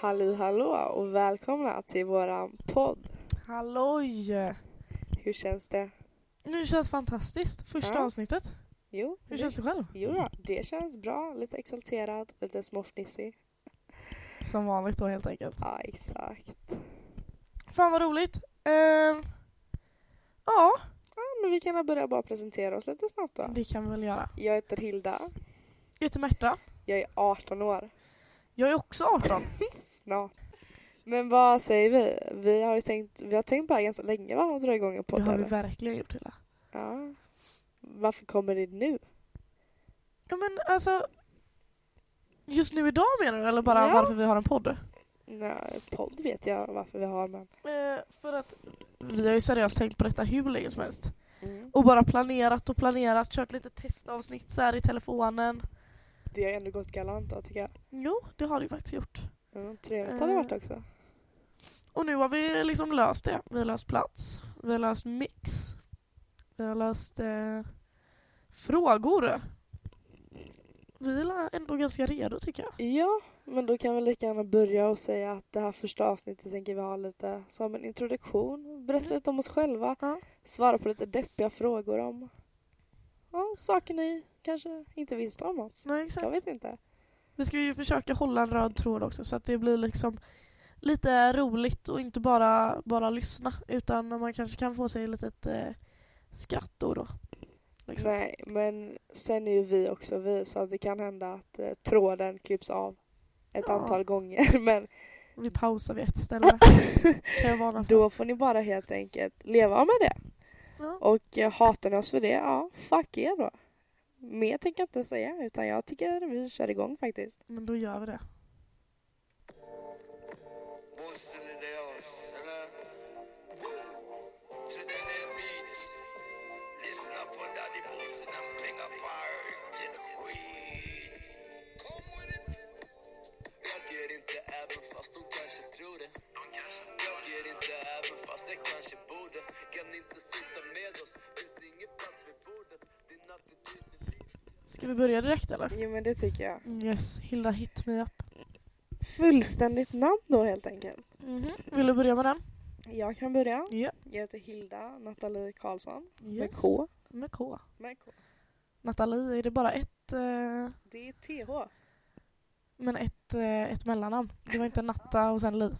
Halli hallå och välkomna till våran podd. Halloj! Hur känns det? Nu känns fantastiskt. Första Ja. avsnittet. Jo, Hur känns det själv? jo då, det känns bra. Lite exalterad, lite småfnissig. Som vanligt då helt enkelt. Ja, exakt. Fan vad roligt. Ehm, ja, Ja, men vi kan väl börja bara presentera oss lite snabbt då. det kan vi väl göra. Jag heter Hilda. Jag heter Märta. Jag är 18 år. Jag är också 18. Snart. Men vad säger vi? Vi har ju tänkt, vi har tänkt på det här ganska länge va? Att dra igång en det podd. har vi eller? verkligen gjort hela. ja. Varför kommer det nu? Ja men alltså. Just nu idag menar du? Eller bara Ja. varför vi har en podd? Nej, podd vet jag varför vi har men. Eh, för att vi har ju seriöst tänkt på detta hur länge som helst. Mm. Och bara planerat och planerat, kört lite testavsnitt så här i telefonen. Det har ändå gått galant då tycker jag. Jo, det har det ju faktiskt gjort. Mm, trevligt har Eh, det varit också. Och nu har vi liksom löst det. Vi har löst plats, vi har löst mix, vi har löst eh, frågor. Vi är la- ändå ganska redo tycker jag. Ja, men då kan vi lika gärna börja och säga att det här första avsnittet tänker vi ha lite som en introduktion. Berätta lite om oss själva. Ja. Svara på lite deppiga frågor om ja, saker ni kanske inte visste om oss. Nej, Jag exakt. vet inte. Vi ska ju försöka hålla en röd tråd också så att det blir liksom lite roligt och inte bara, bara lyssna utan man kanske kan få sig ett litet eh, skratt då och då. Liksom. Nej, men sen är ju vi också vi så att det kan hända att eh, tråden klipps av ett Ja. antal gånger. Men Vi pausar vid ett ställe. kan jag varna för. då får ni bara helt enkelt leva med det. Ja. Och eh, hatar ni oss för det, ja, fuck er då. Mer tänker jag inte säga utan jag tycker vi kör igång faktiskt. Men då gör vi det. Bossen är deras, eller? To the dead beat. Listen up for daddy bossing and ping apart in the weed. Kom with it. Jag ger inte även fast de kanske tror det. Jag ger inte även fast jag kanske borde. Kan inte sitta med oss, finns ingen plats vid bordet. Din attityd till livet. Ska vi börja direkt eller? Jo men det tycker jag. Yes, Hilda hit me up. Fullständigt namn då helt enkelt. Vill du börja med den? Jag kan börja. Ja. Jag heter Hilda Nathalie Karlsson. Med Yes. K. Med K. Med K. Nathalie, är det bara ett, eh, Det är TH. men ett, eh, ett mellannamn? Det var inte Natta och sen Li.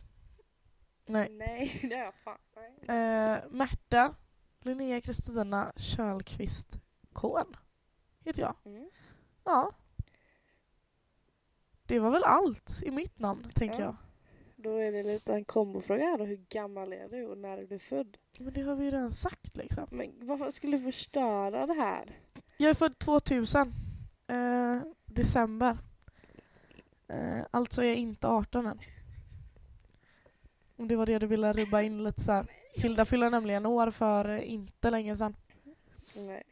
Nej. Nej, det är jag fan. Nej. Eh, Märta Linnea Kristina Kölqvist Kohn heter jag. Mm. Ja. Det var väl allt i mitt namn, tänker Ja. jag. Då är det lite en kombofråga här då. Hur gammal är du och när är du född? Men det har vi ju redan sagt liksom. Men varför skulle du förstöra det här? Jag är född 2000. Eh, december. Eh, alltså är jag inte 18 än. Om det var det du ville rubba in lite så här. Hilda fyller nämligen år för eh, inte länge sedan. Nej.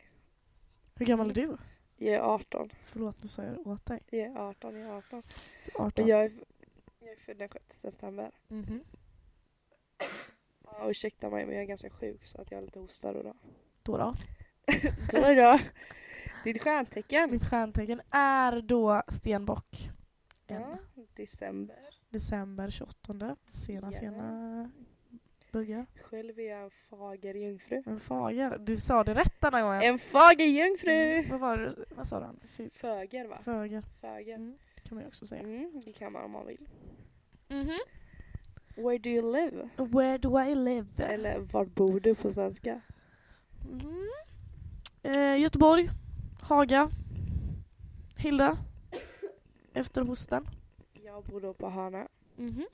Hur gammal är du? Jag är 18. Förlåt, nu sa jag det åt dig. Jag är 18, jag är 18. 18. Och jag är, jag är född den 6 september. Mhm. Ja, ursäkta mig men jag är ganska sjuk så att jag är lite hostar då. Då då. Då är det ditt stjärntecken. Mitt stjärntecken är då stenbock. En Ja, december. december 28. Sena, Ja. sena buggar. Själv är jag en fager jungfru. En fager. Du sa det rätt den här gången. En fager jungfru! Mm, Vad var det? Vad sa du? Fy- Föger va? Föger. Föger. Mm, kan man ju också säga. Mm, det kan man om man vill. Where do you live? Where do I live? Eller var bor du på svenska? Mm. Eh, Göteborg. Haga. Hilda. Efter hosten. Jag bor då på Hörna. Mhm.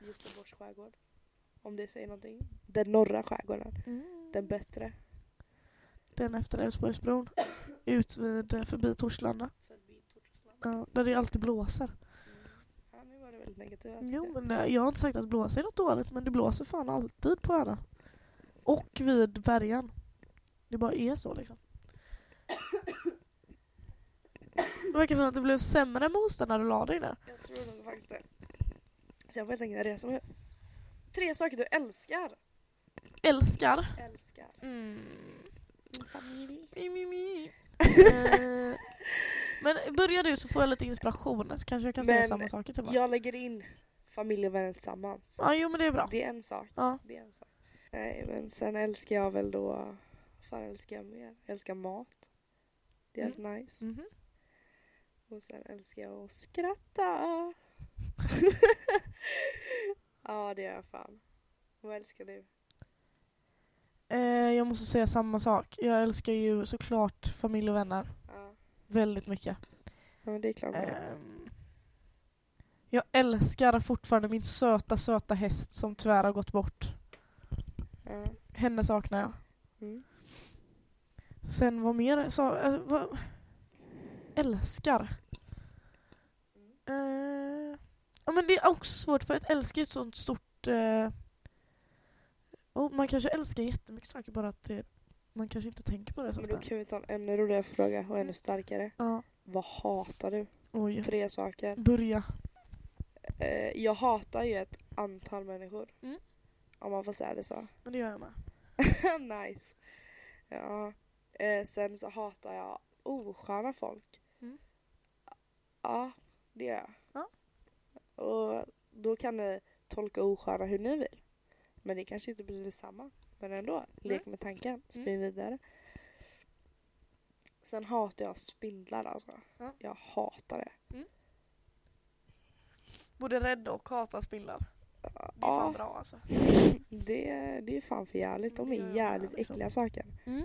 Göteborgs skärgård. Om det säger någonting. Den norra skärgården. Mm. Den bättre. Den efter Älvsborgsbron. Ut vid, eh, förbi Torslanda. Förbi Torslanda. Ja, där det alltid blåser. Ja, nu var det väldigt negativt. Jo, men eh, jag har inte sagt att blåsa är något dåligt, men det blåser fan alltid på öarna. Och vid färjan. Det bara är så liksom. Det verkar som att det blev sämre med hostan när du la dig där. Jag tror nog faktiskt det. Så jag får helt enkelt resa mig upp. Tre saker du älskar. Älskar. Älskar. Mm. Min familj. Mi, mi, mi. Eh, Men börja du så får jag lite inspiration så kanske jag kan säga Men samma saker till varandra. Jag lägger in familj och vänner tillsammans. Ja, jo men det är bra. Det är en sak. Ja. Det är en sak. Nej, men sen älskar jag väl då... vad fan älskar jag mer? Jag älskar mat. Det är Mm. helt nice. Mhm. Och sen älskar jag att skratta. ja, det gör jag fan. Vad älskar du? Eh, jag måste säga samma sak. Jag älskar ju såklart familj och vänner Ja, väldigt mycket. ja men det är klart man gör. Ehm, jag älskar fortfarande min söta, söta häst som tyvärr har gått bort. ja. Henne saknar jag. Mm. Sen vad mer sa eh, vad? Älskar. Eh, ja, men det är också svårt för att älska är ett sånt stort... eh, och man kanske älskar jättemycket saker bara att det, man kanske inte tänker på det så Men då ofta. kan vi ta en ännu roligare fråga och ännu Mm. starkare. Ja, Vad hatar du? oj. Tre saker. Börja. Eh, jag hatar ju ett antal människor. Mm. Om man får säga det så. Men det gör jag med. nice. Ja. Eh, sen så hatar jag osköna folk. Mm. Ja, det gör jag. Ja. Och då kan ni tolka osköna hur ni vill. Men det kanske inte blir detsamma. Men Mm. ändå, lek med tanken. Spinn vidare. Sen hatar jag spindlar alltså. Ja. Jag hatar det. Både rädd och hata spindlar. Det är Ja. fan bra alltså. Det, det är fan för jävligt. De Mm, det gör är jag jävligt med, liksom. äckliga saker. Mm.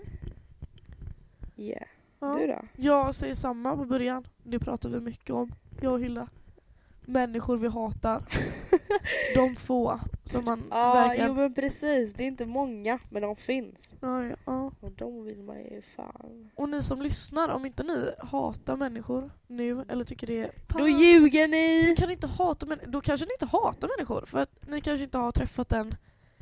Yeah. Ja. Du då? Jag säger samma på början. Det pratar vi mycket om. Jag och Hylla. Människor vi hatar. De få som man Ja, jo verkligen... men precis. Det är inte många, men de finns. Ja, ja, ja. Och de vill man ju fan... Och ni som lyssnar, om inte ni hatar människor nu eller tycker det är... Då ljuger Ni ni! kan inte hata män... Då kanske ni inte hatar människor för att ni kanske inte har träffat den,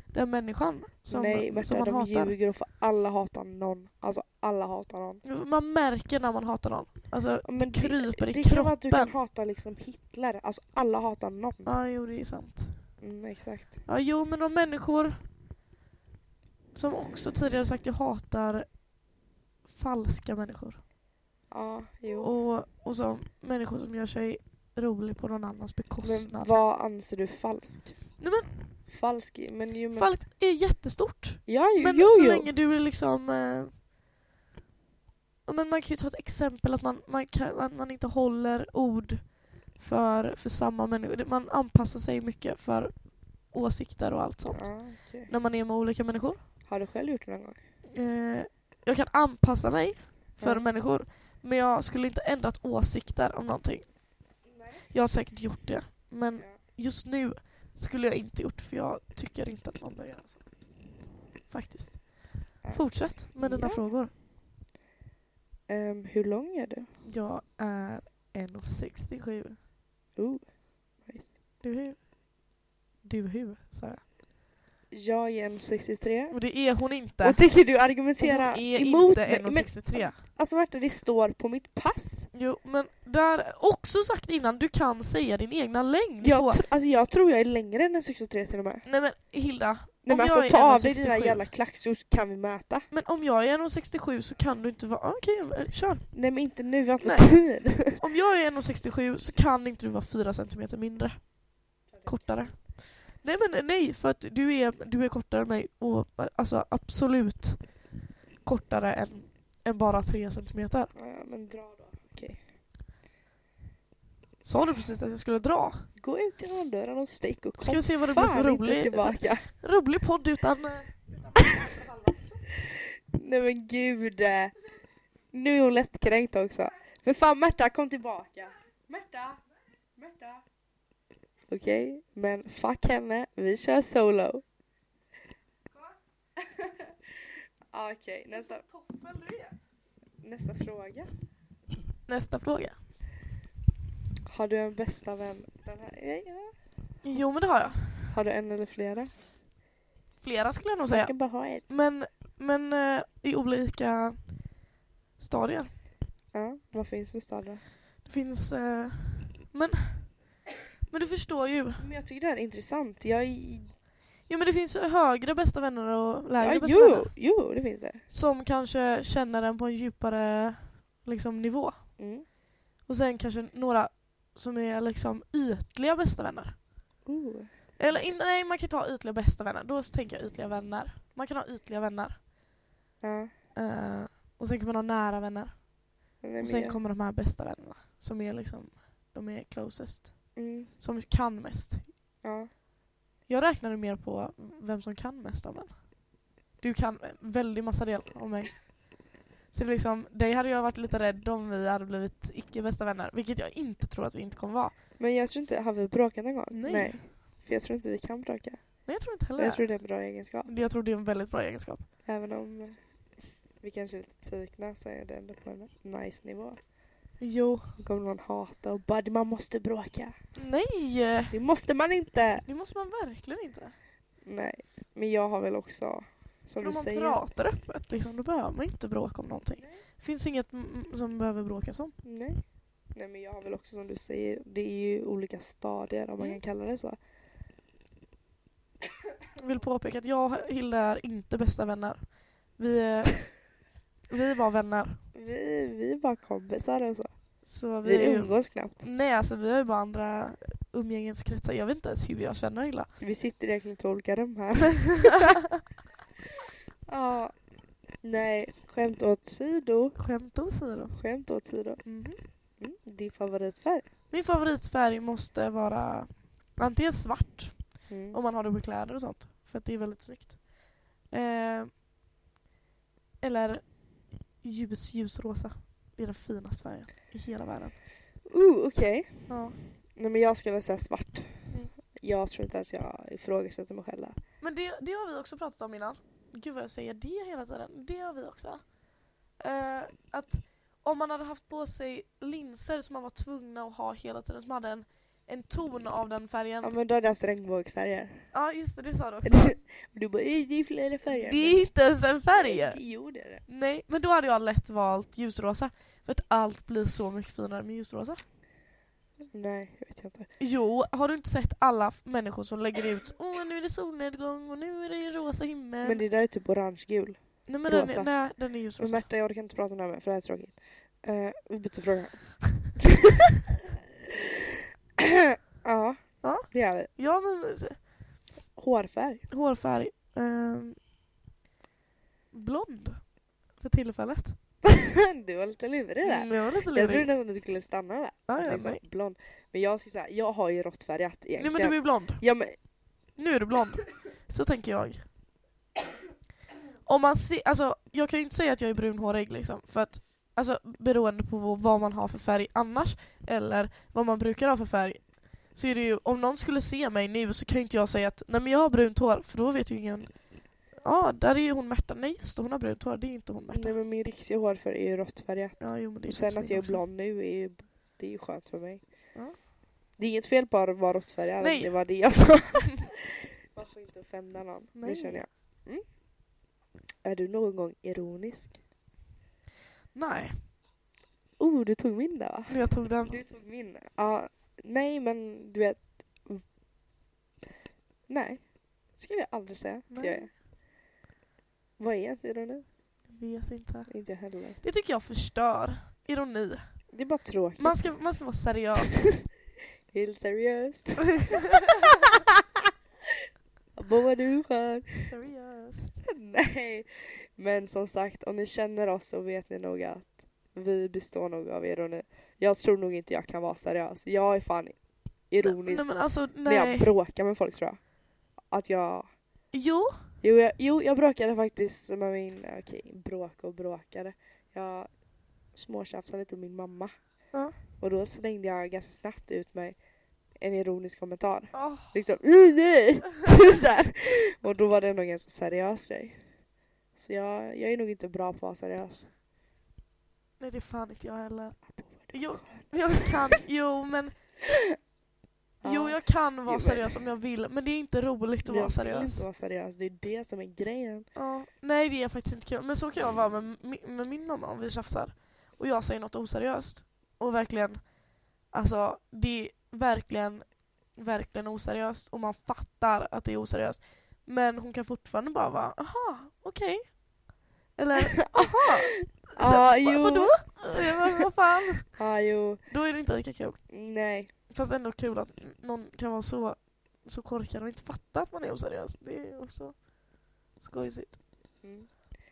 den människan som, Nej Märta, som man de hatar. ljuger och för alla hatar någon. Alltså alla hatar någon. Man märker när man hatar någon. Alltså, Ja, Men det, kryper i det kan vara kroppen. att du kan hata liksom Hitler. Alltså alla hatar någon. Ja, jo det är sant. Mm, exakt. Ja, jo, men de människor som också tidigare sagt jag hatar falska människor. Ja, jo. Och, och som människor som gör sig rolig på någon annans Men bekostnad. vad anser du falsk? Nej, Falsk? Men ju... men Men, falskt är jättestort. ja, jo, Men jo, så jo. länge du är liksom... Eh, ja, men man kan ju ta ett exempel att man, man, kan, att man inte håller ord för, för samma människor. Man anpassar sig mycket för åsikter och allt sånt. Ja, okej. När man är med olika människor. Har du själv gjort det någon gång? eh, jag kan anpassa mig för Ja. människor men jag skulle inte ändrat åsikter om någonting. Jag har säkert gjort det men Ja. just nu skulle jag inte gjort för jag tycker inte att man bör göra så. Faktiskt. Ja. Fortsätt med dina Ja. frågor. Ehm, hur lång är du? Jag är 1,67. Oh, nice. Du hur? Du hur? sa jag. Jag är 1,63. Och det är hon inte. Vad tänker du hon argumentera är emot inte mig? Men 1,63. alltså Märta, det står på mitt pass. Jo, men där också sagt innan, du kan säga din egna längd på Jag, tr- alltså, jag tror jag är längre än en 63 till och med. Nej men Hilda, Nej Om men jag alltså är ta av dig 1,67. dina jävla klackskor så kan vi mäta. men om jag är 1,67 så kan du inte vara... ah, Okej, eh, kör. Nej men inte nu, vi har inte Nej. tid. Om jag är 1,67 så kan inte du vara 4 centimeter mindre. Kortare. Nej men nej, för att du är, du är kortare än mig och eh, alltså absolut kortare än, än bara 3 centimeter. Ja, men dra då. Sa du precis att jag skulle dra? Gå ut genom dörren och stick och kom Ska vi se vad det blir för fan rolig- inte tillbaka. Rolig podd utan... eh, Nej men gud. Nu är hon lättkränkt också. För fan Märta, kom tillbaka. Märta! Märta! Okej, men fuck henne. Vi kör solo. Ah, Okej, nästa, nästa fråga. Nästa fråga. Har du en bästa vän? Den här, ja, ja. Jo men det har jag. Har du en eller flera? Flera skulle jag nog Jag säga. kan bara ha en. Men, men eh, i olika stadier. Ja, vad finns för stad då? Det finns... Eh, men... Men du förstår ju. Men jag tycker det här är intressant. Jag är... Jo men det finns ju högre bästa vänner och lägre Ja, bästa jo, vänner. jo, det finns det. Som kanske känner den på en djupare liksom, nivå. Mm. Och sen kanske några som är liksom ytliga bästa vänner. Oh. Eller in, nej, man kan inte ha ytliga bästa vänner. Då så tänker jag ytliga vänner. Man kan ha ytliga vänner. Ja. Eh, och sen kan man ha nära vänner. Vem är Och sen jag? kommer de här bästa vännerna som är liksom, de är closest. Mm. Som kan mest. Ja. Jag räknade mer på vem som kan mest av en. Du kan en väldigt massa del om mig. Så det är liksom, dig hade jag varit lite rädd om vi hade blivit icke bästa vänner. Vilket jag inte tror att vi inte kommer vara. Men jag tror inte, har vi bråkat någon gång? Nej. För jag tror inte vi kan bråka. Nej jag tror inte heller Och Jag jag tror... tror det är en bra egenskap. jag tror det är en väldigt bra egenskap. Även om eh, vi kanske är lite tykna så är det ändå på en nice nivå. Jo. Då kommer någon hata och bara man måste bråka. Nej! Det måste man inte! Det måste man verkligen inte. Nej, men jag har väl också som För om du man säger. pratar öppet liksom, då behöver man inte bråka om någonting. Finns inget mm, som behöver bråkas om. Nej. Nej men jag har väl också som du säger, det är ju olika stadier om man Mm. kan kalla det så. Jag vill påpeka att jag och Hilda är inte bästa vänner. Vi, är- vi var vänner. Vi, vi är bara kompisar och så. Så vi, Vi är ju- umgås knappt. Nej, alltså vi har ju bara andra umgängeskretsar. Jag vet inte ens hur jag känner Hilda. Vi sitter egentligen i två olika rum här. ja. Nej, skämt åt sido. Skämt åsido. Skämt åt sido. Mhm. Mm, din favoritfärg. Min favoritfärg måste vara antingen svart, Mm. om man har det på kläder och sånt. För att det är väldigt snyggt. Eh, eller ljus, ljusrosa. Det är den finaste färgen i hela världen. Uh, okej. Ja. Nej men jag skulle säga svart. Mm. Jag tror inte att jag ifrågasätter mig själv där. Men det, det har vi också pratat om innan. Gud vad jag säger det hela tiden. Det har vi också. Eh, att om man hade haft på sig linser som man var tvungna att ha hela tiden, som hade en, en ton av den färgen. Ja Ja men då hade jag haft regnbågsfärger. just det, det sa du också. du bara "Ey, det är flera färger. det är inte ens en färg! Men- Jo det är det. Nej, men då hade jag lätt valt ljusrosa. För att allt blir så mycket finare med ljusrosa. Nej, jag vet inte. Jo, har du inte sett alla f- människor som lägger ut Åh, nu är det solnedgång och nu är det rosa himmel. Men det där är typ orange-gul. nej, men den, rosa. är- nej, den är ljusrosa. Men Märta, jag orkar inte prata om det här med för det här är tråkigt. Eh, vi byter fråga. ja, Ja. det gör vi. Ja, men Hårfärg. Hårfärg. ehm, blond. För tillfället. du var lite lurig där. Mm, jag var lite Jag trodde lurig. nästan att du skulle stanna där. Ja, ja, liksom, nej. blond. Men jag ska säga, jag har ju råttfärgat nej egentligen. men du är blond. Ja men Nu är du blond. Så tänker jag. Om man ser, alltså, jag kan ju inte säga att jag är brunhårig liksom. För att, alltså, beroende på vad man har för färg annars. Eller vad man brukar ha för färg. Så är det ju, om någon skulle se mig nu så kan ju inte jag säga att nej men jag har brunt hår. För då vet ju ingen. Ja, där är ju hon Märta. Nej just det, hon har brunt hår. Det är inte hon Märta. Nej men min riktiga hårfärg är ju råttfärgat. Ja, jo, men det är Och sen faktiskt att min jag är också. blond nu är ju, det är ju skönt för mig. Ja. Det är inget fel på att vara råttfärgad, Nej. det var det jag sa. Man får inte offenda någon, Nej. det känner jag. Mm. Är du någon gång ironisk? Nej, Oh, du tog min där va? men jag tog den. Du tog min. Ja, nej men du vet. Nej, skulle jag aldrig säga att jag är. Nej. Vad är ens ironi? Vet inte. Inte jag heller. Det tycker jag förstör. Ironi. Det är bara tråkigt. Man ska, man ska vara seriös. Helt seriöst. Abba vad du är skön. seriös. Nej. Men som sagt, om ni känner oss så vet ni nog att vi består nog av ironi. Jag tror nog inte jag kan vara seriös. Jag är fan ironisk Nej men alltså, när jag nej. bråkar med folk tror jag. Att jag... Jo, Jo, jag, jo, jag bråkade faktiskt med min... Okej, bråka och bråkade. Jag småtjafsade lite med min mamma. Ja. Och då slängde jag ganska snabbt ut mig en ironisk kommentar Åh, liksom "Ih, nej! Typ så här. Och då var det nog en ganska seriös grej. Så jag, jag är nog inte bra på att vara seriös. nej det är fan inte jag heller. Jo, jag kan, jo men, jo jag kan vara men- seriös om jag vill men det är inte roligt att vara Jag vill inte seriös. vara seriös, det är det som är grejen. Ja, nej det är faktiskt inte kul. Men så kan jag vara med, mi- med min mamma om vi tjafsar och jag säger något oseriöst. Och verkligen, alltså det är verkligen, verkligen oseriöst och man fattar att det är oseriöst. Men hon kan fortfarande bara vara, aha, okej. Eller, aha, Ja, Så jag bara, Ah, jo. Vadå? Jag bara, Vad fan? Ja, jo. Då är det inte lika kul. Nej. Fast ändå kul att någon kan vara så, så korkad och inte fatta att man är oseriös. Det är också skojsigt. Mm.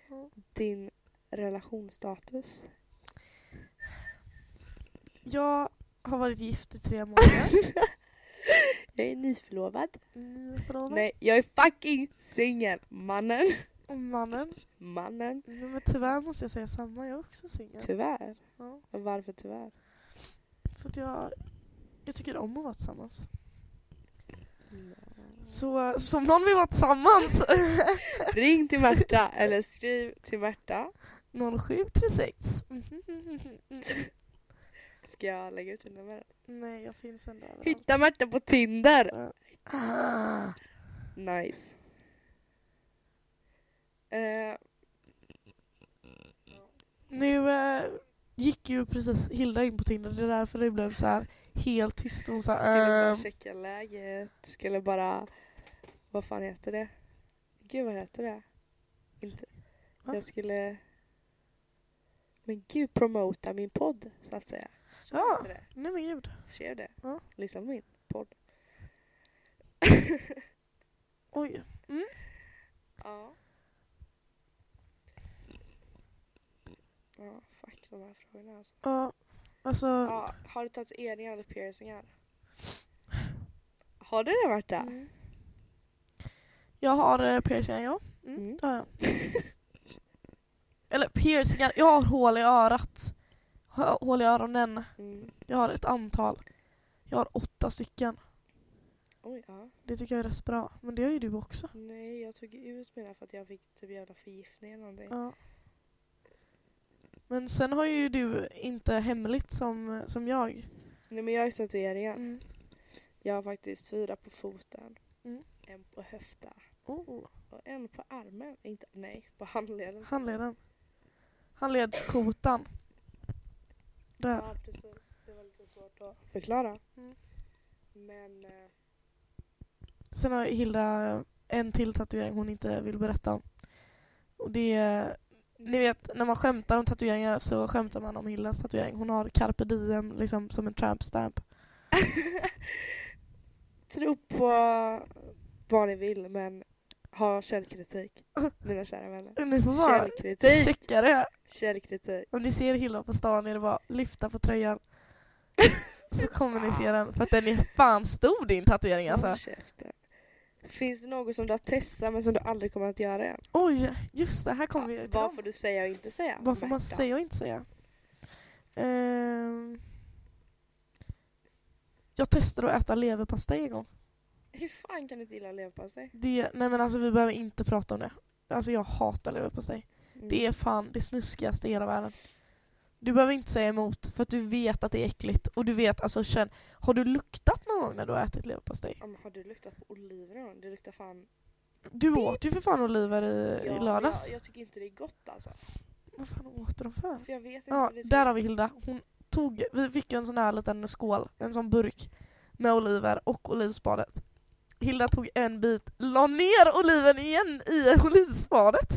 Ja. Din relationsstatus. Jag har varit gift i tre månader. Jag är nyförlovad. Ni är förlovade. Nej, jag är fucking singel. Mannen. Och mannen. Mannen. Nej, Men tyvärr måste jag säga samma, jag är också singel. Typ. Tyvärr. Ja, Varför tyvärr? för att jag, jag tycker om att vara tillsammans. Så, så om någon vill vara tillsammans, Ring till Märta eller skriv till Märta. 0736. Ska jag lägga ut ett nummer? Nej, jag finns ändå överallt. Hitta Märta på Tinder! Ah, Nice. Eh, Nu eh, gick ju precis Hilda in på Tinder, det är därför det blev så här helt tyst. Hon sa Eh, skulle bara ehm, checka läget. Skulle bara... Vad fan heter det? Gud, vad heter det? Inte... Va? Jag skulle... Men gud, promota min podd, så att säga. Så Ja. heter det. nej men gud. Skrev det. Ja. Lyssna på min podd. Oj. Ja. Ja, fuck de här frågorna alltså. Ja, alltså, Ja, har du tatueringar eller piercingar? Har du det Marta? mm. Jag har eh, piercingar, ja. Mm, Mm. Det har jag. Eller piercingar, jag har hål i örat. Hå- Hål i öronen. Mm. Jag har ett antal. Jag har åtta stycken. Oj, ja. Det tycker jag är rätt bra. Men det har ju du också. Nej, jag tog ut mina för att jag fick typ jävla förgiftning eller någonting. Ja. Men sen har ju du inte hemligt som, som jag. Nej men jag har ju tatueringar. Mm. Jag har faktiskt fyra på foten. Mm. En på höfta. Oh, Och en på armen. Inte, nej, på handleden. handleden. Handledskotan. Där. Ja, precis. Det var lite svårt att förklara. Mm. Men... eh, Sen har Hilda en till tatuering hon inte vill berätta om. Och det är, ni vet när man skämtar om tatueringar så skämtar man om Hildas tatuering. Hon har carpe diem liksom som en tramp stamp. tro på vad ni vill men ha källkritik. Mina kära vänner. Ni får bara Källkritik! checka det. Källkritik. Om ni ser Hilda på stan är det bara lyfta på tröjan. så kommer ni se den. För att den är fan stor din tatuering alltså. Håll käften. Finns det något som du har testat men som du aldrig kommer att göra än? Oj, just det. Här kommer vi till Vad dem. får du säga och inte säga? Vad får man Märta? säga och inte säga? Ehm, jag testade att äta leverpastej en gång. Hur fan kan du inte gilla leverpastej? Det, nej men alltså vi behöver inte prata om det. Alltså jag hatar leverpastej. Mm. Det är fan det snuskigaste i hela världen. Du behöver inte säga emot för att du vet att det är äckligt. Och du vet, alltså känn, har du luktat någon gång när du har ätit leverpastej? Ja, men har du luktat på oliver någon gång? Det luktar fan... Du åt ju för fan oliver Eh, i, Ja, i lördags. Jag, jag tycker inte det är gott alltså. Vad fan åt du dem för? För jag vet inte Ja, hur det där har vi Hilda. Hon tog, vi fick ju en sån här liten skål, en sån burk med oliver och olivspadet. Hilda tog en bit, la ner oliven igen i olivspadet.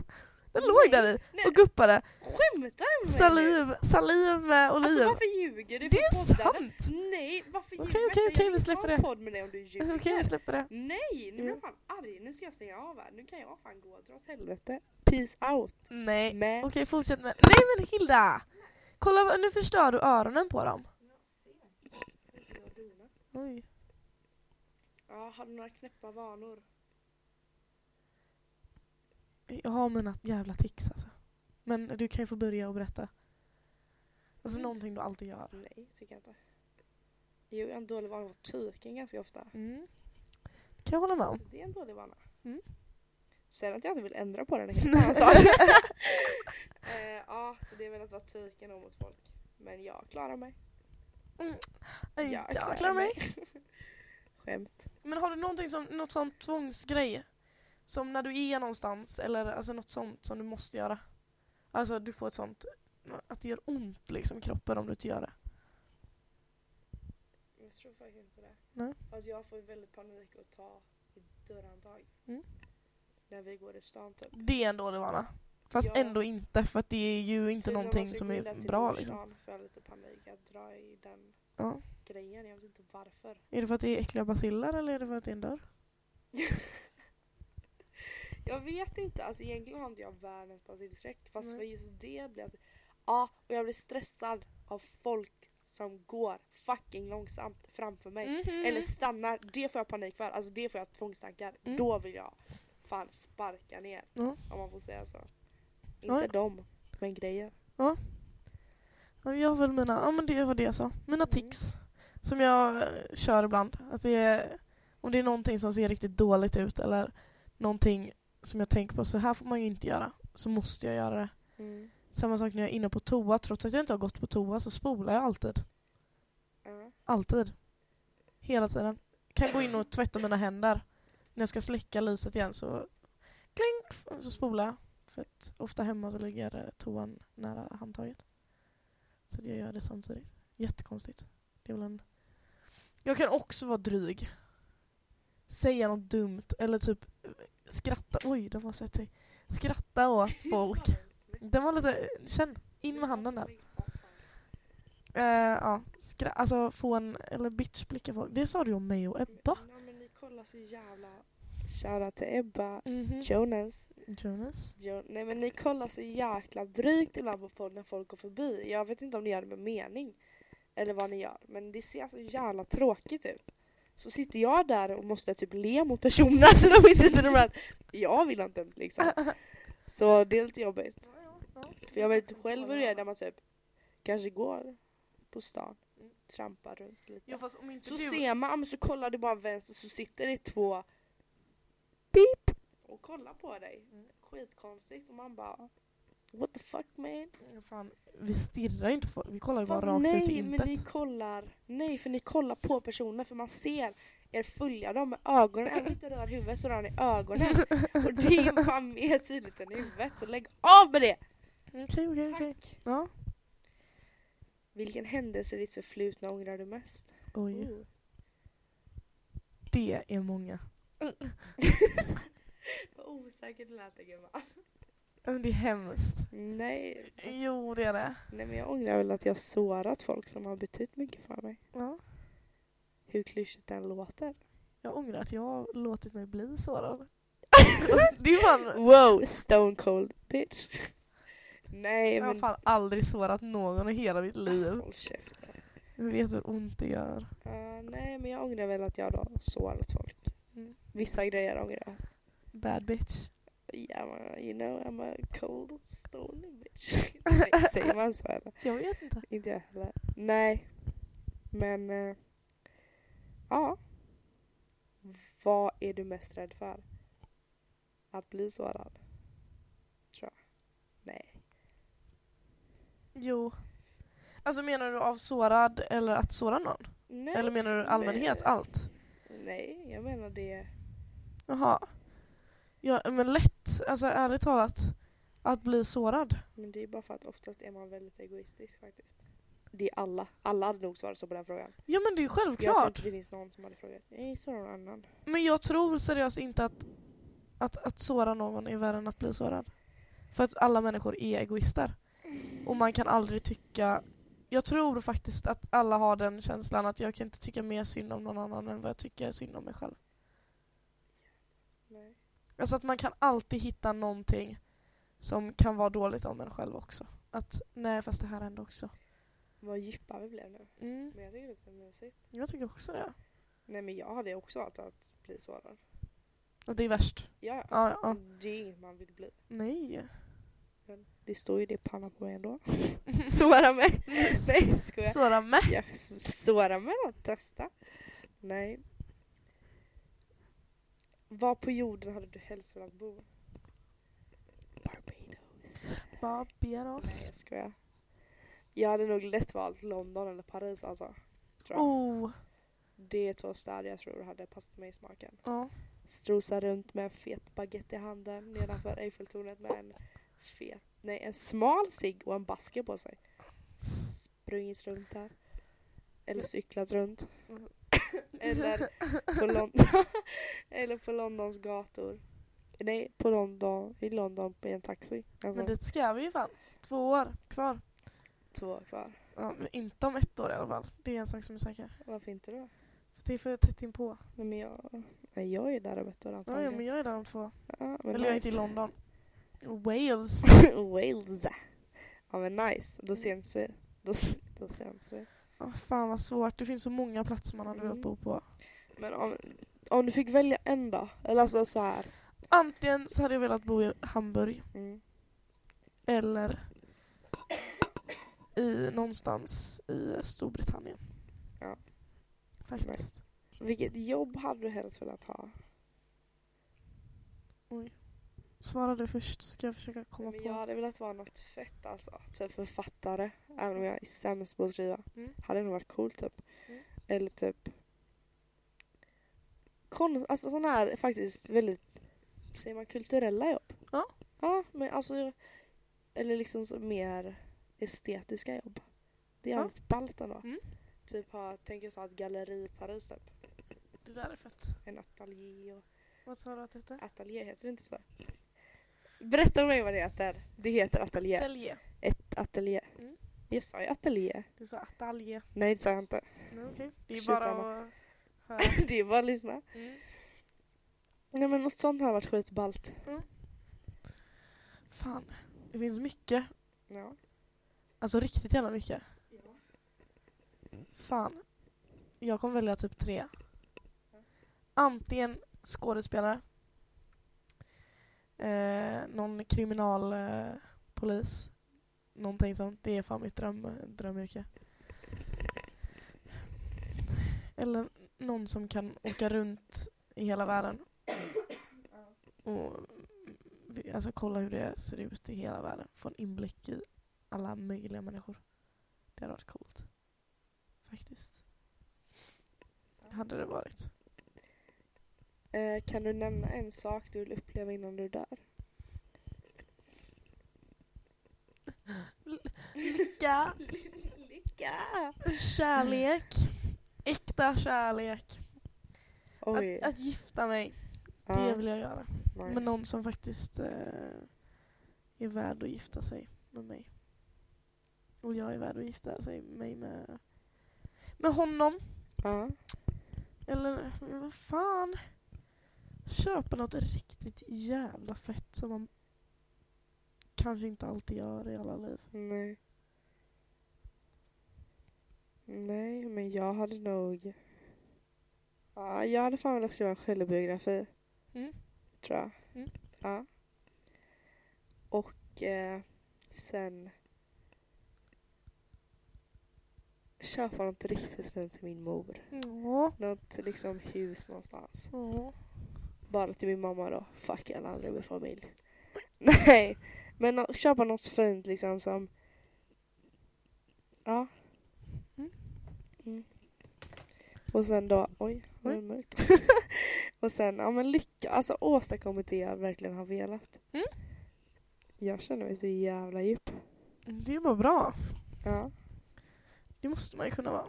Den låg där i nej. och guppade. Skämtar du med mig Saliv, saliv med nu? Alltså oliv. varför ljuger du? det för är poddare? sant! Nej, varför Okej, ljuger okej, Jag okej, vill vi inte släpper ha en det. podd med dig om du ljuger. Okej, vi släpper det. Nej, nu blir Mm. jag fan arg. Nu ska jag stänga av här. Nu kan jag fan gå och dra åt helvete. Peace out. Nej. Men Okej, fortsätt med... Nej men Hilda! Kolla, vad- nu förstör du öronen på dem. Oj. Ja, har du några knäppa vanor? Jag har mina jävla tics alltså. Men du kan ju få börja och berätta. Alltså Mm. någonting du alltid gör. Nej, tycker jag inte. Jo, jag har en dålig vana att vara tyken ganska ofta. Mm. Kan jag hålla med om. Det är en dålig vana. Mm. Sen att jag inte vill ändra på den är helt annan sak. Eh, Ja, så det är väl att vara tyken och mot folk. Men jag klarar mig. Aj, Jag klarar mig. Skämt. Men har du någonting som, något sånt tvångsgrej? Som när du är någonstans eller alltså något sånt som du måste göra? Alltså du får ett sånt att det gör ont liksom i kroppen om du inte gör det. Jag tror faktiskt inte det. Nej. Alltså jag får ju väldigt panik att ta i dörrhandtag. Mm. När vi går i stan typ. Det är en dålig vana. Fast Ja. ändå inte, för att det är ju inte Typ när man någonting ska som gå illa är till bra. brorsan Liksom. får jag lite panik att dra i den Ja. grejen. Jag vet inte varför. Är det för att det är äckliga basiller eller är det för att det är en dörr? Jag vet inte. Alltså egentligen har inte jag världens basilskräck. Fast Nej. för just det blir jag... så- Ja, och jag blir stressad av folk som går fucking långsamt framför mig. Mhm. Eller stannar. Det får jag panik för. Alltså det får jag tvångstankar. Mm. Då vill jag fan sparka ner. Ja. Om man får säga så. Ja, Inte ja. dem, men grejer. Ja, men Jag har väl mina, ja men det var det jag sa, mina Mm. tics. Som jag eh, kör ibland. Att det är, om det är någonting som ser riktigt dåligt ut eller någonting som jag tänker på, så här får man ju inte göra. Så måste jag göra det. Mm. Samma sak när jag är inne på toa, trots att jag inte har gått på toa så spolar jag alltid. Ja. Alltid. Hela tiden. Kan gå in och tvätta mina händer. När jag ska släcka lyset igen så klink, så spolar jag. För att ofta hemma så ligger eh, toan nära handtaget. Så att jag gör det samtidigt. Jättekonstigt. Det är väl en... Jag kan också vara dryg. Säga något dumt eller typ eh, skratta. Oj, det var så jag Skratta åt folk. Den var lite... eh, Känn. In med handen där. Eh, ja, skra- alltså få en, eller bitchblicka folk. Det sa du om mig och Ebba. Nej, men ni kollar så jävla... Shoutout till Ebba Mhm. Jonas. Jonas. Jo, nej men ni kollar så jäkla drygt ibland på folk när folk går förbi. Jag vet inte om ni gör det med mening. Eller vad ni gör. Men det ser så jävla tråkigt ut. Så sitter jag där och måste typ le mot personerna så de inte tror att jag vill inte liksom. Så det är lite jobbigt. För jag vet själv hur det är när man typ kanske går på stan. Trampar runt lite. Jo, fast om inte Så du... ser man, ja, men så kollar du bara vänster så sitter det två pip och kollar på dig. Mm. Skitkonstigt och man bara what the fuck man? Ja, Fan, vi stirrar ju inte på folk. Vi kollar ju bara Fast rakt ut i nej, men intet. ni kollar. Nej, för ni kollar på personen för man ser er följa dem med ögonen. Även om ni inte rör huvudet så rör ni ögonen. Och det är fan mer tydligt än i huvudet så lägg av med det! Mm, Okej, okej, okej. Tack! Ja. Vilken händelse i ditt förflutna ångrar du mest? Mm. Oh. Oj, det är många. Vad osäkert det lät det, gumman. Ja, men Det är hemskt. Nej, Jo, det är det. Nej men jag ångrar väl att jag sårat folk som har betytt mycket för mig. Ja. Hur klyschigt den låter. Jag ångrar att jag har låtit mig bli sårad. det är fan... Wow, stone cold bitch. Nej Jag har men... fan aldrig sårat någon i hela mitt liv. Håll käften. Jag vet hur ont det gör. Eh, nej men jag ångrar väl att jag då sårat folk. Mm. Vissa grejer ångrar jag. Bad bitch. Yeah, man, you know I'm a cold stone bitch. Nej, Säger man så eller? Jag vet inte. Inte jag heller. Nej. Men... eh, ja. Vad är du mest rädd för? Att bli sårad? Tror jag. Nej. Jo. Alltså menar du av sårad eller att såra någon? Nej. Eller menar du allmänhet, Nej. allt? Nej, jag menar det. Jaha. Ja, men lätt, alltså ärligt talat, att bli sårad. Men det är bara för att oftast är man väldigt egoistisk faktiskt. Det är alla. Alla hade nog svarat så på den frågan. Ja men det är ju Jag tror självklart. inte det finns någon som hade frågat. Nej, så någon annan. Men jag tror seriöst inte att, att, att såra någon är värre än att bli sårad. För att alla människor är egoister. Och man kan aldrig tycka... Jag tror faktiskt att alla har den känslan att jag kan inte tycka mer synd om någon annan än vad jag tycker synd om mig själv. Nej. Alltså att man kan alltid hitta någonting som kan vara dåligt om en själv också. Att nej, fast det här hände också. Vad djupa vi blev nu. Mm, Men jag tycker det är så mysigt. jag tycker också det. Nej men jag hade också valt att bli sårad. Och det är värst. Ja, ja. Ja, ja. Det är inget man vill bli. Nej. Men det står ju det i pannan på mig ändå. Såra mig! Nej, skojar. Såra med. Jag såra mig då, testa. Nej. Var på jorden hade du helst velat bo? Barbados. Nej, Barbados. jag skojar. Jag hade nog lätt valt London eller Paris alltså. Tror jag. Oh. Det är två städer jag tror hade passat mig i smaken. Ja. strosa runt med en fet baguette i handen nedanför Eiffeltornet med en fet, nej en smal cigg och en basker på sig. Sprungit runt där. Eller cyklat runt. Mm. Eller på, Lon- eller på Londons gator. nej, på London, i London på en taxi. Alltså, Men dit ska vi ju fan. Två år kvar. två år kvar. Ja, men inte om ett år i alla fall. Det är en sak som är säker. Varför inte då? För det är för tätt inpå. Nej, men jag, nej, jag är där om ett år Ja, ja, men antagligen. jag är där om två. Ja, men Eller jag är nice. inte i London. Wales. Wales. Ja men nice, Mm. då syns vi. Då, s- då syns vi. Oh, fan vad svårt. Det finns så många platser man hade velat Mm. bo på. Men om, om du fick välja en då? Eller alltså så här. Antingen så hade jag velat bo i Hamburg Mm. eller i någonstans i Storbritannien. Ja. Faktiskt. Nice. Vilket jobb hade du helst velat ha? Svara du först så ska jag försöka komma Men på. jag hade velat vara något fett alltså. Typ författare. Även om jag är sämst på att skriva. Mm. Hade nog varit cool typ. Mm. Eller typ konst, alltså sådana här faktiskt väldigt, säger man kulturella jobb? Ja. Ja, men alltså jag- eller liksom så mer estetiska jobb. Det är Ja. jävligt ballt ändå. Mm. Typ ha, tänk att ha ett galleri i Paris typ. Det där är fett. En ateljé och, Vad sa du att det hette? ateljé heter det inte så? Berätta för mig vad det heter. Det heter ateljé. Ateljé. Ett ateljé. Mm. Jag sa ju ateljé. Du sa ateljé. Nej det sa jag inte. Nej, okej. Det är Skitsamma. bara att höra. det är bara att lyssna. Mm. Nej men något sånt har varit skitballt. Fan. Det finns mycket. Ja. Alltså riktigt jävla mycket. Fan. Jag kommer välja typ tre. Antingen skådespelare. Eh, någon kriminalpolis. Eh, polis. Någonting sånt. Det är fan mitt dröm, drömyrke. Eller någon som kan åka runt i hela världen. Och mm, alltså, kolla hur det ser ut i hela världen. Få en inblick i alla möjliga människor. Det hade varit coolt. Faktiskt. Det hade det varit. Eh, kan du nämna en sak du vill uppleva innan du dör? Lycka, Lycka! Mm. kärlek, äkta kärlek. Oj. Att, att gifta mig, ja, det vill jag göra. nice. Med någon som faktiskt eh, är värd att gifta sig med mig. Och jag är värd att gifta sig med mig med, med honom. Ja. Eller men vad fan. Köpa något riktigt jävla fett som man kanske inte alltid gör i alla liv. Nej. Nej, men jag hade nog... Ja, jag hade fan velat skriva en självbiografi. Mm. Tror jag. Mm. Ja. Och eh, sen... Köpa något riktigt fint till min mor. Ja. Något liksom hus någonstans. Ja. Bara till min mamma då. Fuck, jag aldrig med familj. Nej, men nå- köpa något fint liksom som... Ja. Mm. Mm. Och sen då, oj, var det Oj. mörkt? och sen, ja men lycka, alltså åstadkommit det jag verkligen har velat. Mm. Jag känner mig så jävla djup. Det är bara bra. Ja. Det måste man ju kunna vara.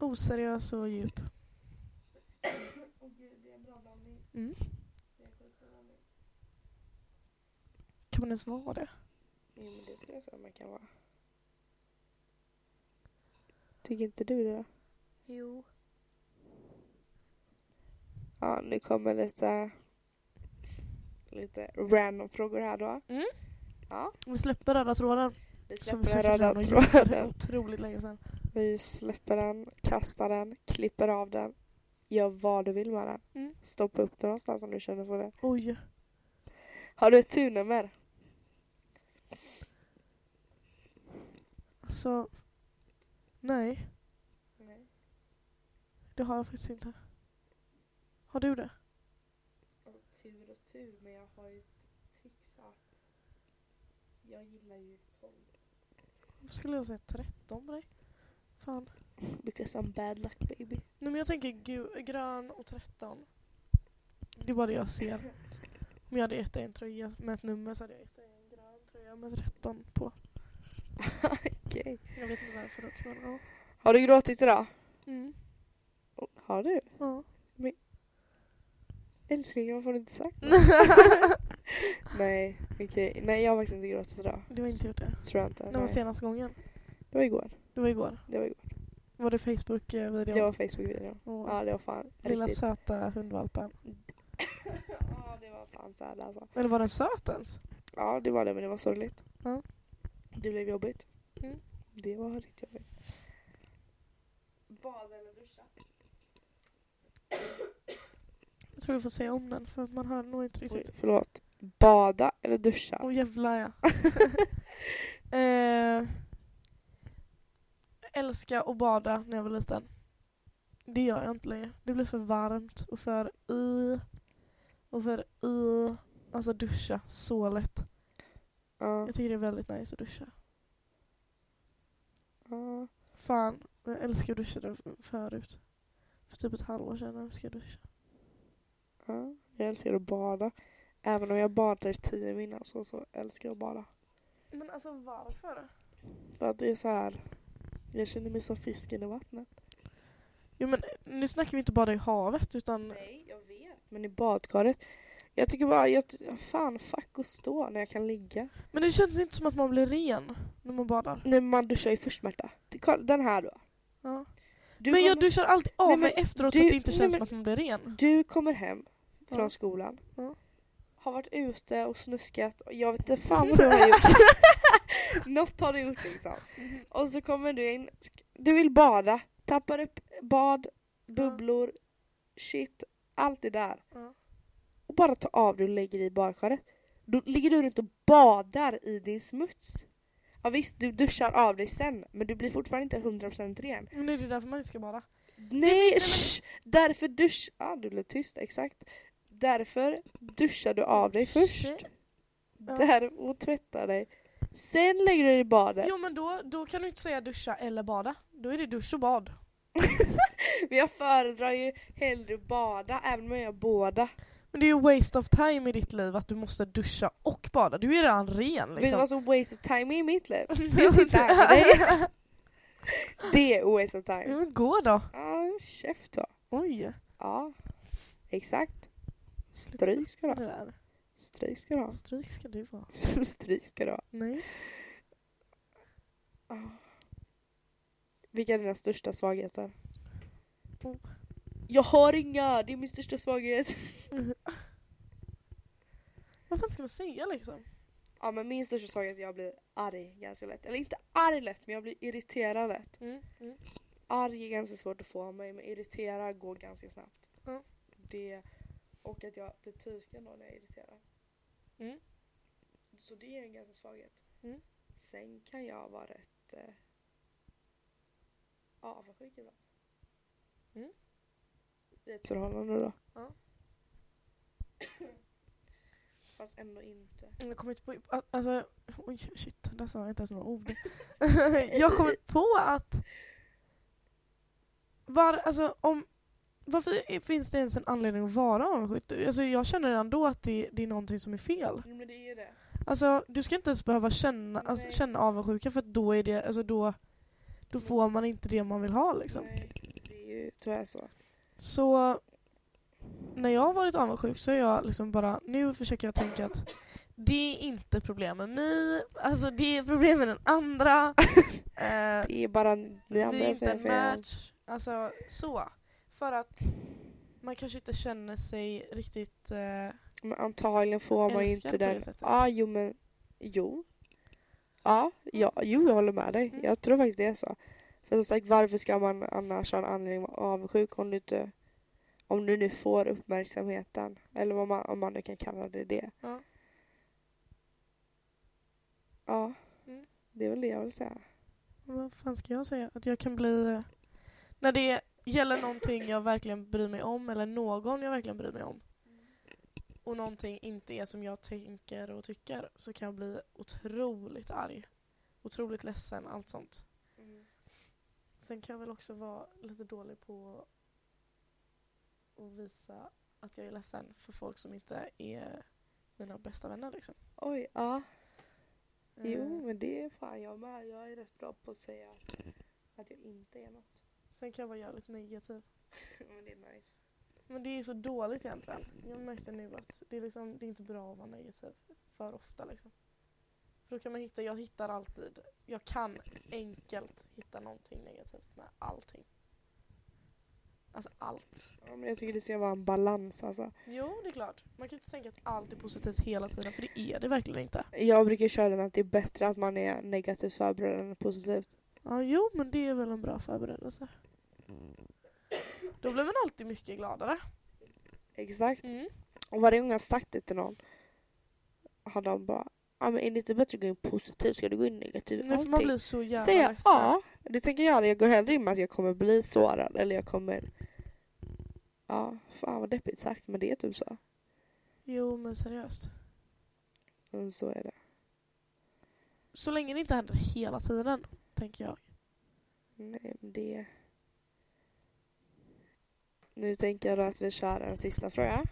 Oseriös och djup. Mm. Kan man ens vara det? Jo, men det skulle jag säga man kan vara. Tycker inte du det då? Jo. Ja, nu kommer lite, lite random frågor här då. Mm. Ja, Vi släpper röda tråden. vi Som släpper vi den säkert röda redan har gjort tråden. otroligt länge sedan. Vi släpper den, kastar den, klipper av den. Gör vad du vill med den. Mm. Stoppa upp den någonstans om du känner för det. Oj. Har du ett turnummer? Alltså, nej, Nej. det har jag faktiskt inte. Har du det? Tur och tur, men jag har ju ett tics att jag gillar ju 12. Varför skulle jag säga 13 på dig? Fan. Because I'm bad luck baby. Nej men jag tänker gu- grön och 13. Det är bara det jag ser. Om jag hade gett dig en tröja med ett nummer så hade jag gett dig en grön tröja med 13 på. Okej. Jag vet inte varför dock men ja. Har du gråtit idag? Mm. Oh, Har du? ja. Älskling, varför har du inte sagt Nej, okej. Nej, jag har faktiskt inte gråtit idag. Du har inte gjort det. Tror jag inte. När var Nej. senaste gången? Det var igår. Det var igår. Det var igår. Var det Facebook-videon? Det var Facebook-videon. Åh, Ja, det var fan Lilla riktigt. söta hundvalpen. Ja, det var fan så här alltså. Eller var den söt ens? Ja, det var det, men det var sorgligt. Ja. Det blev jobbigt. Mm. Det var riktigt jobbigt. Bada eller duscha? Jag tror du får säga om den för man hör nog inte Oj, riktigt. Alltså, förlåt. Bada eller duscha? Åh jävlar ja. eh, älska att bada när jag var liten. Det gör jag inte längre. Det blir för varmt och för i och för i. Alltså duscha så lätt. Ja. Jag tycker det är väldigt nice att duscha. ja. Fan, jag älskar att duscha förut. För typ ett halvår sedan älskade jag duscha. Ja, jag älskar att bada. Även om jag badade i tio min alltså, så älskar jag att bada. Men alltså varför? För att det är så här. Jag känner mig som fisken i vattnet. Jo men eh, nu snackar vi inte bara i havet utan Nej, jag vet. Men i badkaret. Jag tycker bara, jag, ty- fan fuck att stå när jag kan ligga. Men det känns inte som att man blir ren när man badar. Nej men man duschar ju först Märta. T- kolla, Den här då. Ja. Du, men kommer, jag duschar alltid av Nej, men mig efteråt du- så att det inte nej, känns men- som att man blir ren. du kommer hem från Ja. skolan. Ja. Har varit ute och snuskat. Och jag vet inte fan vad du har gjort. Något har du gjort liksom. Mhm. Och så kommer du in. sk- Du vill bada. Tappar upp bad, bubblor, shit. Allt det där. Ja. Och bara ta av dig och lägger i badkaret. Då ligger du runt och badar i din smuts. Ja visst, du duschar av dig sen. Men du blir fortfarande inte 100% ren. Men det är därför man inte ska bada. Nej, shh, därför dusch... Ja, ah, du blev tyst, exakt. Därför duschar du av dig först. Shit. Ja. Där och tvättar dig. Sen lägger du dig i badet. Jo men då, då kan du inte säga duscha eller bada. Då är det dusch och bad. Men jag föredrar ju hellre bada, även om jag gör båda. Men det är ju waste of time i ditt liv att du måste duscha och bada. Du är redan ren Vet du liksom. vad som waste of time är i mitt liv? Det är att sitta här med dig. Det är waste of Ja, time. men gå då. Ja, käft då. Oj. Ja, exakt. Stryk ska du Det ha. där. Stryk ska du ha. Stryk ska du vara. Stryk ska du ha. Nej. Vilka är dina största svagheter? Oh. Jag har inga, det är min största svaghet. Vad fan ska man säga liksom? Ja men min största svaghet är att jag blir arg ganska lätt. Eller inte arg lätt men jag blir irriterad lätt. Mm, mm. Arg är ganska svårt att få av mig men irriterad går ganska snabbt. Ja. Det, och att jag blir tyken då när jag är irriterad. Mm. Så det är en ganska svaghet. Mm. Sen kan jag vara rätt eh, avundsjuk ibland. Mm. I ett förhållande då. Ja. Fast ändå inte. Jag kommer inte på... Alltså, oj shit, där sa jag inte ens några ord. jag kommer på att... Var, alltså, om, varför finns det ens en anledning att vara avundsjuk? Alltså, jag känner redan då att det, det är någonting som är fel. Jo men det är ju det. Alltså, du ska inte ens behöva känna, alltså, Nej. känna avundsjuka för att då är det... Alltså, då, då får man inte det man vill ha liksom. Nej, det är ju tyvärr så. Så när jag har varit avundsjuk så är jag liksom bara, nu försöker jag tänka att det är inte problem med mig, alltså det är problem med den andra. eh, Det är bara ni vi är andra som inte är en fel. match. Alltså så. För att man kanske inte känner sig riktigt... Eh, Men antagligen får man ju inte Älskar på det den. Ja, sättet. ah, jo men jo. Ja, ja, jo jag håller med dig. Mm. Jag tror faktiskt det är så. För som sagt, varför ska man annars ha en anledning att vara avundsjuk om du inte om du nu får uppmärksamheten. Eller vad man, om man nu kan kalla det det. Ja. Ja, Mm. det är väl det jag vill säga. vad fan ska jag säga? Att jag kan bli... eh, När det gäller någonting jag verkligen bryr mig om eller någon jag verkligen bryr mig om och någonting inte är som jag tänker och tycker så kan jag bli otroligt arg. Otroligt ledsen, allt sånt. Mm. Sen kan jag väl också vara lite dålig på att visa att jag är ledsen för folk som inte är mina bästa vänner. Liksom. Oj, ja. Jo, Eh, men det är fan jag med. Jag är rätt bra på att säga att jag inte är något. Sen kan jag vara jävligt negativ. men det är nice. Men det är så dåligt egentligen. Jag märkte nu att det är, liksom, det är inte bra att vara negativ för ofta. Liksom. För då kan man hitta, jag hittar alltid, jag kan enkelt hitta någonting negativt med allting. Alltså allt. Ja, men jag tycker det ska vara en balans alltså. Jo, det är klart. Man kan inte tänka att allt är positivt hela tiden, för det är det verkligen inte. Jag brukar köra den att det är bättre att man är negativt förberedd än positivt. Ja, jo, men det är väl en bra förberedelse. Då blir man alltid mycket gladare. Exakt. Mm. Och varje gång jag har sagt det till någon har de bara Ja men är det inte bättre att gå in positivt? Ska du gå in negativt? Nu får man Allting. bli så jävla Säger jag ledsen. ja, det tänker jag göra. Jag går hellre in med att jag kommer bli sårad eller jag kommer... Ja, fan vad deppigt sagt men det är typ så. Jo, men seriöst. Men så är det. Så länge det inte händer hela tiden, tänker jag. Nej men det... Nu tänker jag då att vi kör en sista fråga.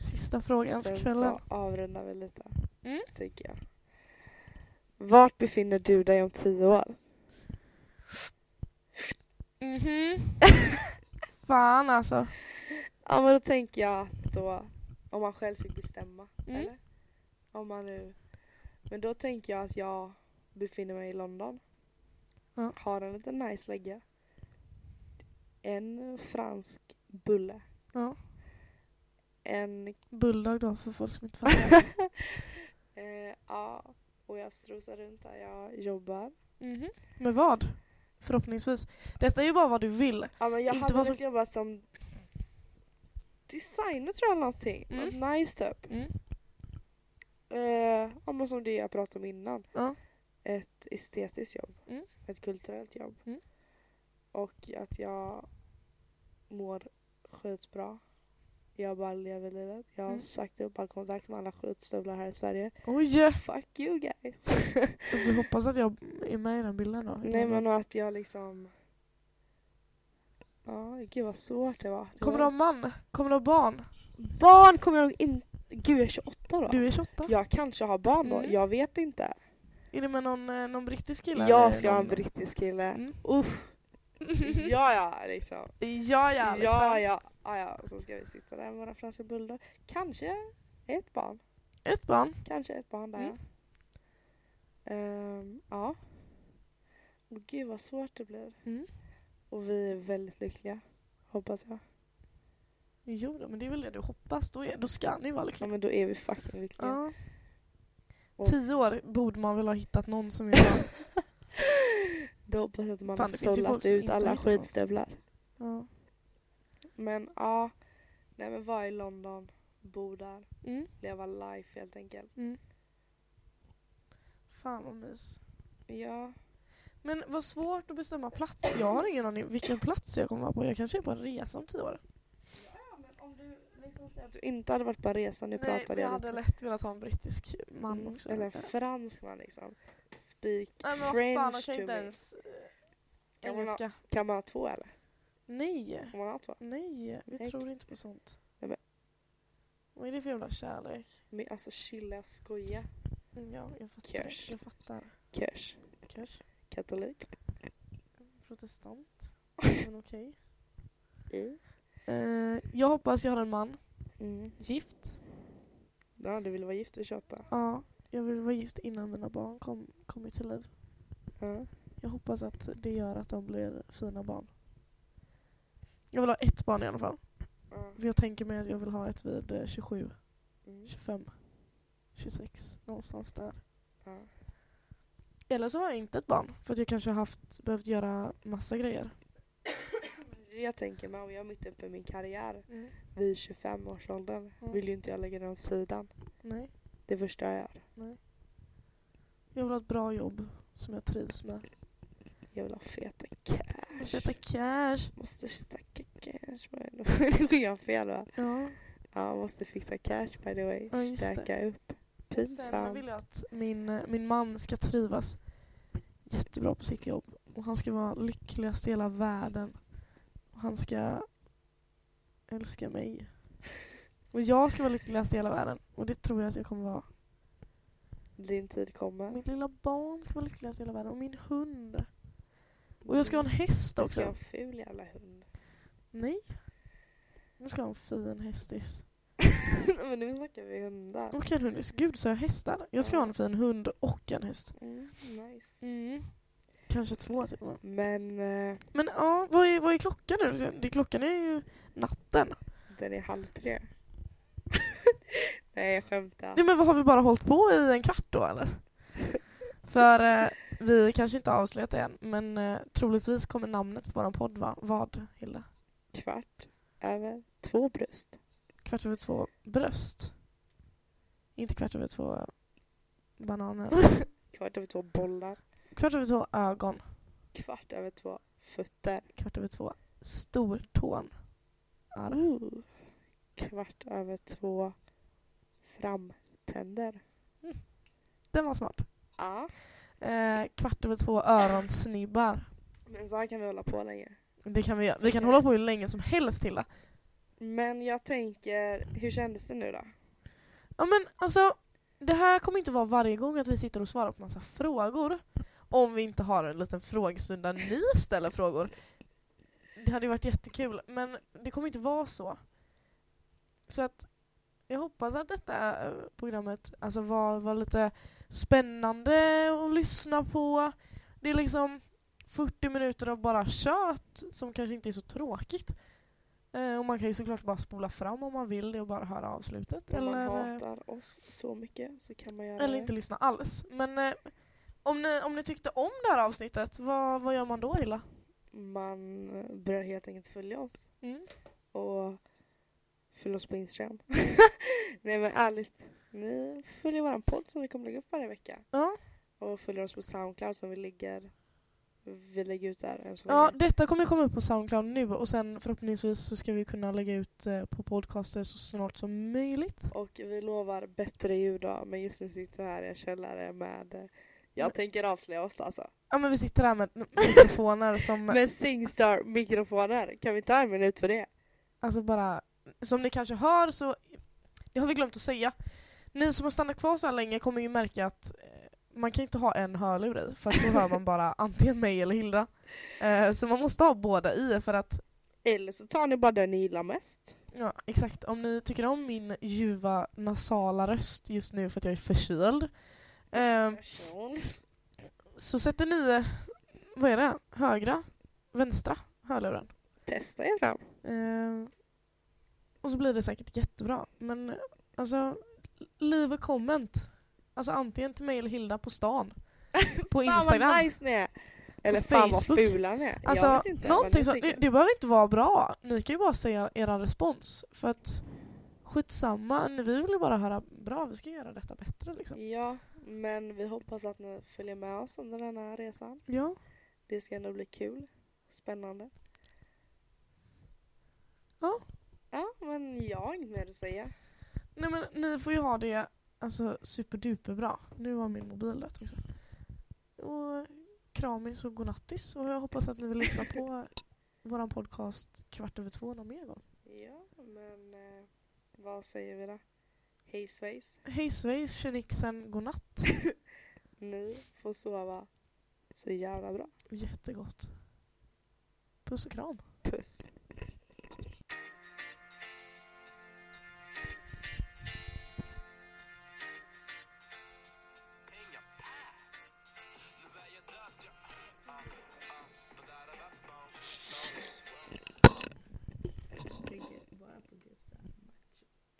Sista frågan för Sen kvällen. så avrundar vi lite. Mm. Tycker jag. Vart befinner du dig om tio år? Mhm. Fan alltså. Ja men då tänker jag att då om man själv fick bestämma. Mm. Eller? Om man nu... Men då tänker jag att jag befinner mig i London. Ja. Har en liten nice lägga. En fransk bulle. Ja. En... Bulldog då för folk som inte fattar. Eh, ja. Och jag strosar runt där jag jobbar. Mhm. Med vad? Förhoppningsvis. Detta är ju bara vad du vill. Ja men jag Inte hade vad velat jobba som designer tror jag eller någonting. Mm. Något nice typ. Mm. Eh, ja, men som det jag pratade om innan. Ja. Ett estetiskt jobb. Mm. Ett kulturellt jobb. Mm. Och att jag mår skitbra. Jag bara lever livet. Jag har Mm. sagt upp all kontakt med alla skitstövlar här i Sverige. Oj! Fuck you guys! Vi hoppas att jag är med i den bilden då. Nej men och att jag liksom... Ja, gud vad svårt det var. Det Kommer du ha var... man? Kommer du ha barn? Barn kommer jag nog inte... Gud jag är 28 då. Du är 28. Jag kanske har barn då, Mm. jag vet inte. Är det med någon, eh, någon brittisk kille? Jag eller ska ha en någon- brittisk kille. Mm. Uff. Ja, ja, liksom. ja, ja, Ja, liksom. ja, ja, ja. Så ska vi sitta där med våra franska bulldog. Kanske ett barn. Ett barn. Kanske ett barn där, ja. Mm. Ehm, ja. Åh, gud, vad svårt det blir. Mm. Och vi är väldigt lyckliga, hoppas jag. Jo, då, men det är väl det du hoppas. Då, är, då ska ni vara liksom. Ja, men lyckliga. då är vi fucking lyckliga. Ja. Och- Tio år borde man väl ha hittat någon som är bra. Då hoppas jag att man Fan, har det finns ju folk sållat som ut inte alla hittar någon. skidstövlar. ja. Men ja, nej men var i London, bo där, mm. leva life helt enkelt. Fan vad mys. Ja, Men vad svårt att bestämma plats. Jag har ingen aning vilken plats jag kommer vara på. Jag kanske är på en resa om tio år. men om du liksom säger att du inte hade varit på en resa, nu Nej, men pratade jag jag hade lite. lätt velat ha en brittisk man Mm, också. Eller en Ja. fransk man liksom. Speak Nej men vad fan, han French kan ju to inte me. ens eh, Kan man ha- engelska. Kan man ha två eller? Nej, Kan man ha två? nej, vi Nej. tror inte på sånt. Nej, men- Vad är det för jävla kärlek? Men alltså chilla, jag skojar. Mm, Ja, jag fattar. Körs. Jag fattar. Körs. Kanske Katolik. protestant. Men okej. I. Eh, jag hoppas jag har en man. Mm. Gift. Ja, du ville vara gift vid 28. Ja, jag vill vara gift innan mina barn kom, kommer till liv. Ja. Jag hoppas att det gör att de blir fina barn. Jag vill ha ett barn i alla fall. Ja. För jag tänker mig att jag vill ha ett vid eh, 27, Mm. 25, 26. Någonstans där. Ja. Eller så har jag inte ett barn. För att jag kanske har haft, behövt göra massa grejer. Jag tänker mig om jag är mitt uppe i min karriär vid 25-årsåldern Mm. vill ju inte jag lägga den åt sidan. Nej. Det första jag gör. Jag vill ha ett bra jobb som jag trivs med. Jag vill ha feta cash. Jag vill Tvätta cash. Måste stacka cash. by the way. Nu sker jag fel va? Ja. Ja, man måste fixa cash by the way. Ja, just det. Stacka upp. Sen vill Pinsamt. jag att min, min man ska trivas jättebra på sitt jobb. Och han ska vara lyckligast i hela världen. Och han ska älska mig. Och jag ska vara lyckligast i hela världen. Och det tror jag att jag kommer vara. Din tid kommer. Mitt lilla barn ska vara lyckligast i hela världen. Och min hund. Och jag ska ha en häst Du ska ha också. en ful jävla hund. Nej. Nu ska jag ha en fin hästis. Nej, men nu snackar vi hundar. Och en hund. Gud, så jag hästar? Jag ska ha en fin hund och en häst. Mm, nice. Mm. Kanske två till och med. Men eh, Men ja, vad är, vad är klockan nu? Det, klockan är ju natten. den är halv tre. Nej jag skämtar. Nej, men vad har vi bara hållit på i en kvart då eller? För eh, vi kanske inte har avslöjat det än, men eh, troligtvis kommer namnet på vår podd va? vad, Hilda? Kvart över två bröst. Kvart över två bröst. Inte kvart över två bananer. Kvart över två bollar. Kvart över två ögon. Kvart över två fötter. Kvart över två stortån. Ja, då. Ooh. Kvart över två framtänder. Den var smart. Ja. Eh, kvart över två öronsnibbar. Men så här kan vi hålla på länge. Det kan vi göra. Vi kan hålla på hur länge som helst Hilda. Men jag tänker, hur kändes det nu då? Ja men alltså, det här kommer inte vara varje gång att vi sitter och svarar på massa frågor. Om vi inte har en liten frågestund där ni ställer frågor. Det hade ju varit jättekul, men det kommer inte vara så. Så att jag hoppas att detta eh, programmet alltså var, var lite spännande att lyssna på. Det är liksom 40 minuter av bara kött som kanske inte är så tråkigt. Eh, och man kan ju såklart bara spola fram om man vill det och bara höra avslutet. Om man eller, eh, hatar oss så mycket så kan man göra eller det. inte lyssna alls. Men eh, om, ni, om ni tyckte om det här avsnittet, vad, vad gör man då Hilla? Man bör helt enkelt följa oss. Mm. Och följ oss på Instagram. Nej men ärligt, ni följer våran podd som vi kommer lägga upp varje vecka. Ja. Och följer oss på Soundcloud som vi lägger, vi lägger ut där än så ja, länge. detta kommer komma upp på Soundcloud nu och sen förhoppningsvis så ska vi kunna lägga ut eh, på podcaster så snart som möjligt. Och vi lovar bättre ljud då, men just nu sitter vi här i en källare med eh, jag tänker avslöja oss alltså. Ja men vi sitter här med mikrofoner som, Med Singstar-mikrofoner. Kan vi ta en minut för det? alltså bara, som ni kanske hör så, det har vi glömt att säga. Ni som har stannat kvar så här länge kommer ju märka att eh, man kan inte ha en hörlur i för att då hör man bara antingen mig eller Hilda. Eh, så man måste ha båda i för att Eller så tar ni bara den ni gillar mest. Ja, exakt. Om ni tycker om min ljuva nasala röst just nu för att jag är förkyld eh, så sätter ni, eh, vad är det, högra, vänstra hörluren. Testa er fram. Eh, och så blir det säkert jättebra. Men eh, alltså, leave a comment. Alltså antingen till mig eller Hilda på stan. På Fan vad Instagram. nice ni är! Eller På fan vad Facebook. fula ni är. jag Alltså, vet inte vad ni någonting så, det, tycker. det behöver inte vara bra. Ni kan ju bara säga er respons. För att skitsamma, vi vill ju bara höra bra, vi ska göra detta bättre liksom. Ja, men vi hoppas att ni följer med oss under den här resan. Ja. Det ska ändå bli kul. Spännande. Ja. Ja, men jag har inget mer att säga. Nej men ni får ju ha det alltså superduperbra. Nu var min mobil dött också. Och kramis och godnattis och jag hoppas att ni vill lyssna på våran podcast kvart över två någon mer gång. Ja, men eh, vad säger vi då? Hej svejs. Hej svejs, tjenixen, godnatt. Ni får sova så jävla bra. Jättegott. Puss och kram. Puss. Ah,